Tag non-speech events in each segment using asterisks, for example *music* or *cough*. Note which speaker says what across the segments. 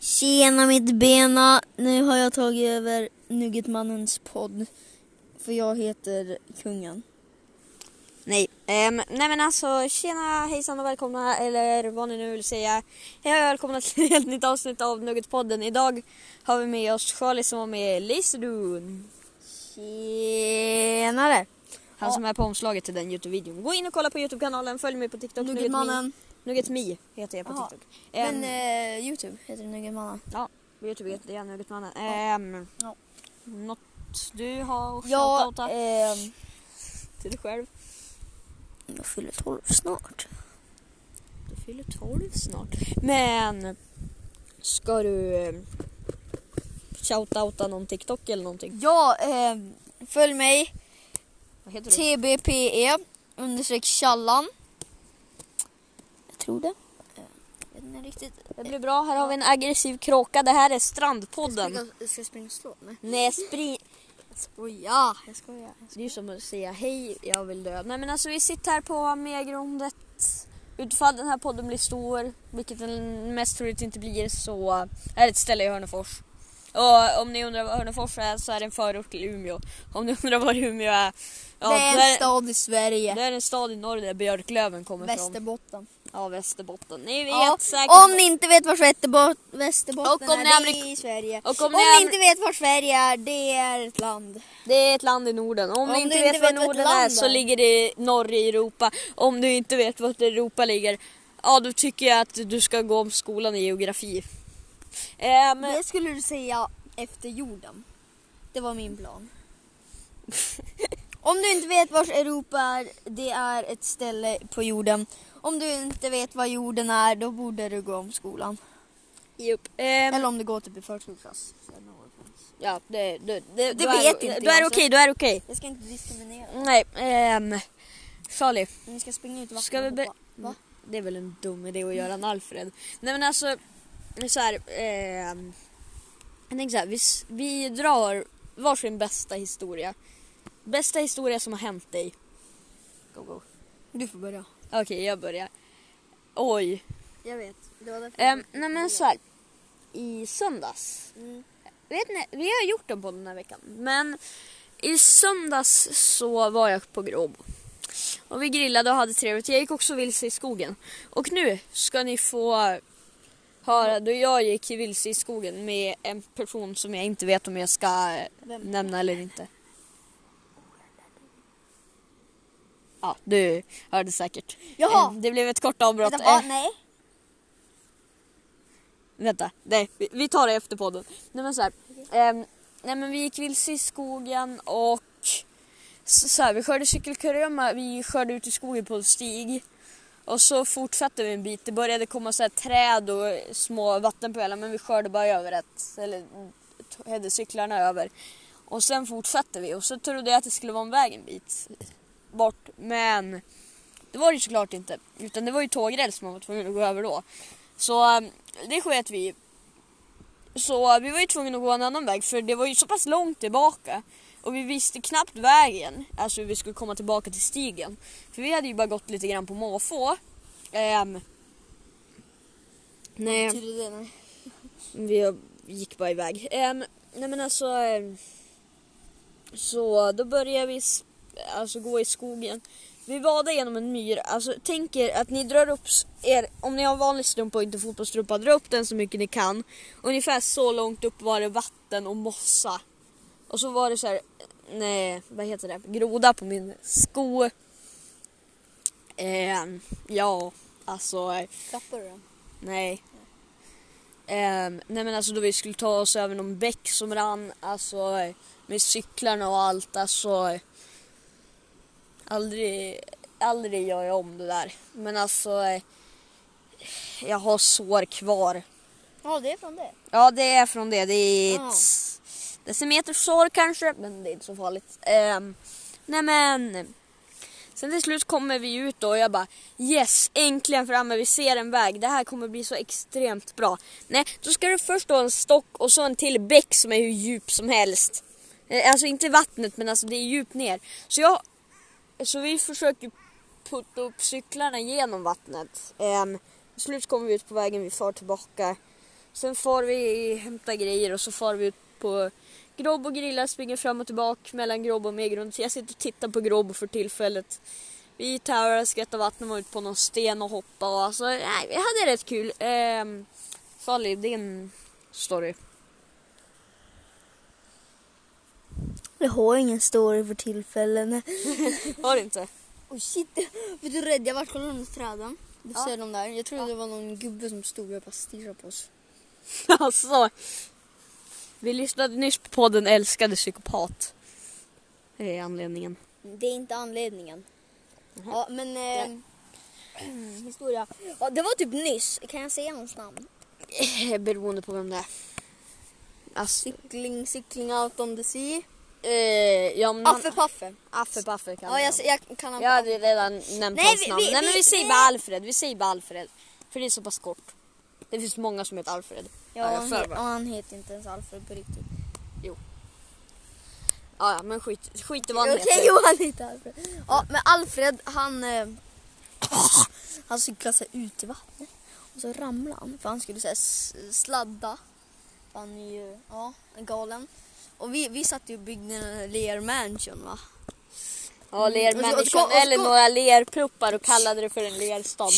Speaker 1: Tjena mitt bena! Nu har jag tagit över Nuggetmannens podd. För jag heter kungen.
Speaker 2: Nej. Ehm, nej men alltså tjena, hejsan och välkomna eller vad ni nu vill säga. Hej och välkomna till ett helt nytt avsnitt av Nuggetpodden. Idag har vi med oss Charlie som var med i Laserdun.
Speaker 1: Tjenare!
Speaker 2: Han
Speaker 1: Ja.
Speaker 2: som är på omslaget till den Youtube-videon. Gå in och kolla på Youtube-kanalen, följ mig på TikTok.
Speaker 1: Nuggetmannen.
Speaker 2: Nuggetmi heter jag på
Speaker 1: Jaha.
Speaker 2: TikTok. Ehm,
Speaker 1: Men eh, Youtube heter det Nuggetmannen.
Speaker 2: på Youtube heter jag Nuggetmannen. Ehm,
Speaker 1: Ja.
Speaker 2: Något du har att
Speaker 1: Ja,
Speaker 2: shoutouta
Speaker 1: ehm,
Speaker 2: till dig själv?
Speaker 1: jag fyller 12 snart.
Speaker 2: Du fyller 12 snart. Men ska du eh, shoutouta någon TikTok eller någonting?
Speaker 1: Ja, ehm, följ mig.
Speaker 2: Vad heter du?
Speaker 1: TBPE E understreck challan. Jag tror det. Eh, Jag vet inte riktigt.
Speaker 2: Det blir bra. Här har vi en aggressiv kråka. Det här är Strandpodden.
Speaker 1: Jag ska springa och slå? Nej.
Speaker 2: Nej, spri...
Speaker 1: Jag skojar. Jag skojar.
Speaker 2: Det är ju som att säga hej, jag vill dö. Nej men alltså vi sitter här på Megrundet. Utifall den här podden blir stor, vilket den mest troligt inte blir, så är det ett ställe i Hörnefors. Och om ni undrar vad Hörnefors är så är det en förort till Umeå. Om ni undrar var Umeå är, ja,
Speaker 1: det är
Speaker 2: där-
Speaker 1: en stad i Sverige.
Speaker 2: Det är en stad i norr där Björklöven kommer från.
Speaker 1: Västerbotten.
Speaker 2: Ja, Västerbotten. Ni vet
Speaker 1: Ja,
Speaker 2: säkert.
Speaker 1: Om ni inte vet var Västerbo- Västerbotten
Speaker 2: Och om
Speaker 1: är,
Speaker 2: ni
Speaker 1: det
Speaker 2: Amerik-
Speaker 1: är i Sverige.
Speaker 2: Och
Speaker 1: Om
Speaker 2: om,
Speaker 1: ni
Speaker 2: ni,
Speaker 1: inte vet var Sverige är, det är ett land.
Speaker 2: Det är ett land i Norden. Om, du inte vet var
Speaker 1: vad ett
Speaker 2: Norden
Speaker 1: land
Speaker 2: är så
Speaker 1: är.
Speaker 2: ligger det i norr i Europa. Om du inte vet vart Europa ligger, ja då tycker jag att du ska gå om skolan i geografi. Ehm,
Speaker 1: Det skulle du säga efter jorden. Det var min
Speaker 2: *laughs*
Speaker 1: plan. om du inte vet var Europa är, det är ett ställe på jorden. Om du inte vet vad jorden är, då borde du gå om skolan.
Speaker 2: jupp. Ehm,
Speaker 1: Eller om du går typ i förskoleklass.
Speaker 2: ja, det, det,
Speaker 1: Det
Speaker 2: det, då
Speaker 1: vet
Speaker 2: är,
Speaker 1: inte jag,
Speaker 2: Då är det
Speaker 1: så-
Speaker 2: okej, då är det okej.
Speaker 1: Jag ska inte diskriminera.
Speaker 2: Nej, ehm, Charlie.
Speaker 1: Men vi ska springa ut i vattnet
Speaker 2: Ska vi
Speaker 1: och
Speaker 2: be- Mm.
Speaker 1: hoppa. Va?
Speaker 2: Det är väl en dum idé att göra en Alfred. Nej men alltså, så här, ehm, jag tänker så här, vi, s- vi drar varsin bästa historia. Bästa historia som har hänt dig. Go, go.
Speaker 1: Du får börja.
Speaker 2: Okej, jag börjar. Oj.
Speaker 1: Jag vet. Det var därför
Speaker 2: Ehm, nej men så här, i söndags.
Speaker 1: Mm.
Speaker 2: Vet ni, vi har gjort den på den här veckan. Men i söndags så var jag på Gråbo. Och vi grillade och hade trevligt. Jag gick också vilse i skogen. Och nu ska ni få höra då jag gick vilse i skogen med en person som jag inte vet om jag ska eh,
Speaker 1: Vem?
Speaker 2: nämna eller inte. Ja, du hörde säkert.
Speaker 1: Jaha!
Speaker 2: Eh, Det blev ett kort avbrott.
Speaker 1: Vänta, va?
Speaker 2: Eh,
Speaker 1: Alltså, ah, Nej.
Speaker 2: Vänta, nej vi, vi tar det efter podden. Nej men så här, ehm, nej men vi gick vilse i skogen och så, så här, vi körde cykelkurragömma, vi körde ut i skogen på en stig. Och så fortsatte vi en bit, det började komma så här träd och små vattenpölar men vi körde bara över ett, eller mm, t- hade cyklarna över. Och sen fortsatte vi och så trodde jag att det skulle vara en väg en bit bort men det var det ju såklart inte. Utan det var ju tågräls man var tvungen att gå över då. Så um, det sket vi i. Så uh, vi var ju tvungna att gå en annan väg för det var ju så pass långt tillbaka. Och vi visste knappt vägen, alltså hur vi skulle komma tillbaka till stigen. För vi hade ju bara gått lite grann på måfå. Ehm, nej.
Speaker 1: Betyder det nej?
Speaker 2: Vi gick bara iväg. Um, nej men alltså. ehm, så då började vi s- alltså, gå i skogen. Vi vadade genom en myr. Alltså tänk er att ni drar upp s- er, om ni har en vanlig strumpa och inte fotbollsstrumpa, dra upp den så mycket ni kan. Ungefär så långt upp var det vatten och mossa. Och så var det så här, nej, vad heter det, groda på min sko. Ehm, ja, alltså. eh,
Speaker 1: Klappar du den?
Speaker 2: Nej. Ehm, nej men alltså då vi skulle ta oss över någon bäck som rann, alltså eh, med cyklarna och allt, alltså. eh, Aldrig, aldrig gör jag om det där. Men alltså, eh, jag har sår kvar.
Speaker 1: Ja, det är från det.
Speaker 2: Ja det är från det, det är ett
Speaker 1: Ja.
Speaker 2: decimeters sår kanske, men det är inte så farligt. Ehm, nej men. Sen till slut kommer vi ut då och jag bara yes, äntligen framme, vi ser en väg. Det här kommer bli så extremt bra. Nej, då ska det först då en stock och så en till bäck som är hur djup som helst. Eh, Alltså inte i vattnet men alltså det är djupt ner. Så jag, så vi försöker putta upp cyklarna genom vattnet. Ehm, till slut kommer vi ut på vägen, vi far tillbaka. Sen far vi hämta grejer och så far vi ut på grobb och grilla, springer fram och tillbaka mellan grobb och medgrund. Så jag sitter och tittar på grobb för tillfället. Vi tävlar, skvätter vatten och var ute på någon sten och hoppar och alltså, nej, vi hade rätt kul. Ehm, Sally, din story.
Speaker 1: Jag har ingen story för tillfället.
Speaker 2: Har du inte?
Speaker 1: Oh shit, *laughs* vet du rädd jag vart? Kolla de där träden. Du
Speaker 2: Ja.
Speaker 1: ser de där. Jag trodde det var någon gubbe som stod och bara stirrade på oss.
Speaker 2: *laughs* Alltså. Vi lyssnade nyss på podden Älskade psykopat. Det är anledningen.
Speaker 1: Det är inte anledningen.
Speaker 2: Mhm.
Speaker 1: Ja, men... Eh, historia. Ja, det var typ nyss. Kan jag säga någons namn?
Speaker 2: Eh, Beroende på vem det är. Alltså,
Speaker 1: Cykling, cykling out on the sea.
Speaker 2: eh, ja, men
Speaker 1: Affe Paffe.
Speaker 2: Affe Baffe kan
Speaker 1: Ja,
Speaker 2: det
Speaker 1: jag,
Speaker 2: vara.
Speaker 1: jag kan han
Speaker 2: Jag hade redan nämnt
Speaker 1: Nej,
Speaker 2: hans
Speaker 1: vi-
Speaker 2: namn.
Speaker 1: vi-
Speaker 2: Nej men
Speaker 1: vi-
Speaker 2: vi säger
Speaker 1: vi-
Speaker 2: bara Alfred. Vi säger bara Alfred. För det är så pass kort. Det finns många som heter Alfred.
Speaker 1: Ja,
Speaker 2: jag
Speaker 1: han,
Speaker 2: för
Speaker 1: he-
Speaker 2: mig.
Speaker 1: ja, han heter inte ens Alfred på riktigt.
Speaker 2: Ja, ja men skit, skit i vad han
Speaker 1: Okej,
Speaker 2: heter.
Speaker 1: Johan heter Alfred. Ja, men Alfred han... Eh, han cyklade sig ut i vattnet. Och så ramlade han för han skulle så här, s- sladda. För han är ju ja, galen. Och vi, vi satt ju och byggde en Lear Mansion va.
Speaker 2: Ja,
Speaker 1: Och så- och
Speaker 2: lermänniskan
Speaker 1: så-
Speaker 2: eller några lerpluppar och kallade det för en lerstad.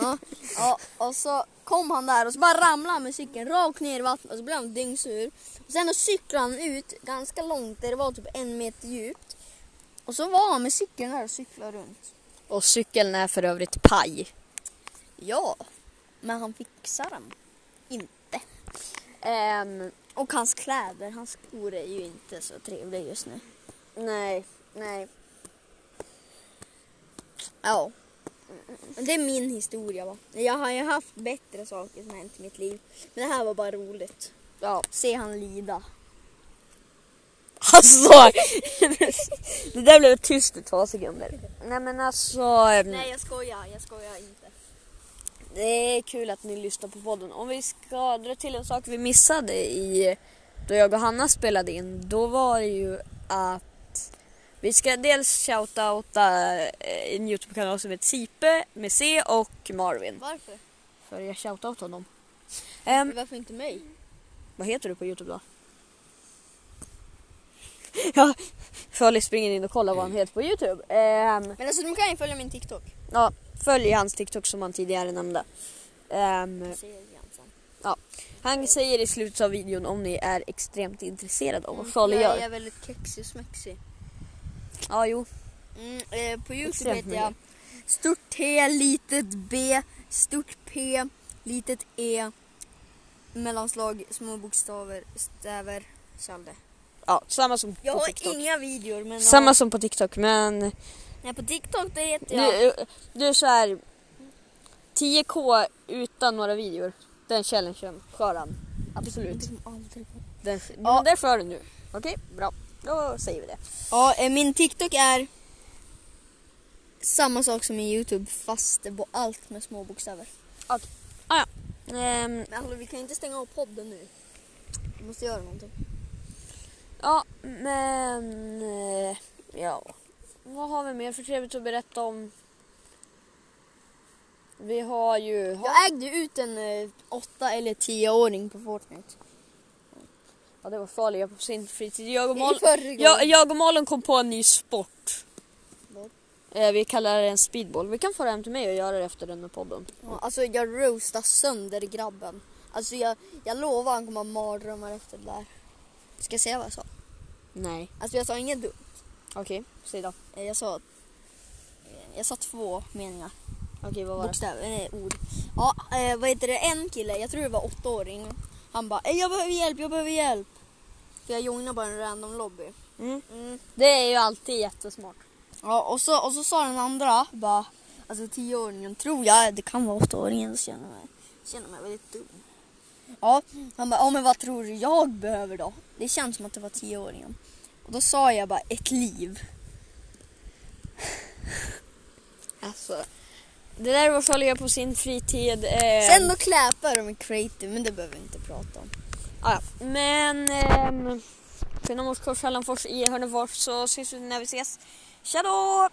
Speaker 1: Ja, ja, och så kom han där och så bara ramlade han med cykeln rakt ner i vattnet och så blev han dyngsur. Och sen då cyklade han ut ganska långt där det var typ en meter djupt. Och så var han med cykeln där och cyklade runt.
Speaker 2: Och cykeln är för övrigt paj.
Speaker 1: Ja, men han fixar den inte.
Speaker 2: Ehm,
Speaker 1: Och hans kläder, hans skor är ju inte så trevliga just nu.
Speaker 2: nej, nej.
Speaker 1: Ja. Men Det är min historia va. Jag har ju haft bättre saker som hänt i mitt liv. Men det här var bara roligt.
Speaker 2: Ja.
Speaker 1: Se han lida.
Speaker 2: Alltså! *laughs* det där blev tyst i två sekunder. Nej men alltså. ehm,
Speaker 1: Nej jag skojar, jag skojar inte.
Speaker 2: Det är kul att ni lyssnar på podden. Om vi ska dra till en sak vi missade i då jag och Hanna spelade in. Då var det ju att vi ska dels shoutouta eh, en Youtube-kanal som heter Sipe med C och Marvin.
Speaker 1: Varför?
Speaker 2: För jag shoutoutade honom. Ehm,
Speaker 1: Varför inte mig?
Speaker 2: vad heter du på Youtube då? *laughs* ja, Följ springer in och kollar vad han heter på Youtube. Ehm,
Speaker 1: Men alltså de kan ju följa min TikTok.
Speaker 2: ja, följ hans TikTok som han tidigare nämnde. Ehm, Han säger i slutet av videon om ni är extremt intresserade
Speaker 1: Mm,
Speaker 2: av vad Charlie
Speaker 1: Jag
Speaker 2: gör.
Speaker 1: är väldigt kexig och smexig.
Speaker 2: Ja, jo.
Speaker 1: Mm, eh, på Youtube
Speaker 2: Extremt
Speaker 1: heter jag stort T, litet B, stort P, litet E, mellanslag, små bokstäver, stäver, salde.
Speaker 2: Ja, samma som
Speaker 1: Jag
Speaker 2: på
Speaker 1: har
Speaker 2: TikTok.
Speaker 1: inga videor men
Speaker 2: Samma som på TikTok, men
Speaker 1: nej, på TikTok det heter jag...
Speaker 2: du, du är så här 10k utan några videor. Den challengen skör han. Absolut. Den,
Speaker 1: Ja.
Speaker 2: ja. Det skör du nu. Okej, bra. Då säger vi det.
Speaker 1: Ja, eh, min TikTok är samma sak som min Youtube fast det var allt med små bokstäver.
Speaker 2: Ehm,
Speaker 1: Men hallå vi kan inte stänga av podden nu. Vi måste göra någonting.
Speaker 2: ja, men... eh, Ja. Vad har vi mer för trevligt att berätta om? Vi har ju...
Speaker 1: Jag ägde ut en eh, åtta eller tioåring på Fortnite.
Speaker 2: Ja, det var farliga på sin fritid. Jag och,
Speaker 1: I
Speaker 2: Mal-
Speaker 1: förrgår.
Speaker 2: jag, jag och Malin kom på en ny sport.
Speaker 1: Vad?
Speaker 2: Eh, vi kallar det en speedball. Vi kan få det hem till mig och göra det efter den här podden.
Speaker 1: Ja, alltså jag roastar sönder grabben. Alltså jag, jag lovar han kommer ha mardrömmar efter det där. Ska jag säga vad jag sa?
Speaker 2: Nej.
Speaker 1: Alltså jag sa inget dumt.
Speaker 2: Okej, säg då.
Speaker 1: Eh, Jag sa... eh, Jag sa två meningar.
Speaker 2: Okej, vad var det?
Speaker 1: Bokstäver, nej ord. Ja, eh, vad heter det? En kille, jag tror det var åttaåring. Han bara "Eh, jag behöver hjälp, jag behöver hjälp. För jag joinade bara en random lobby.
Speaker 2: Mm.
Speaker 1: Mm.
Speaker 2: Det är ju alltid jättesmart.
Speaker 1: Ja, och så, och så sa den andra, bara, alltså tioåringen tror jag, det kan vara åttaåringen, så känner mig, känner mig väldigt dum. Ja, han bara, ja men vad tror du jag behöver då? Det känns som att det var tioåringen. Och då sa jag bara, ett liv.
Speaker 2: Alltså. Det där var farliga på sin fritid. Eh,
Speaker 1: Sen då kläpar de i creative, men det behöver vi inte prata om.
Speaker 2: Ja, ja. men... ehm, Skynda mot Kors Hallandfors i Hörnefors så ses vi när vi ses. Tja då!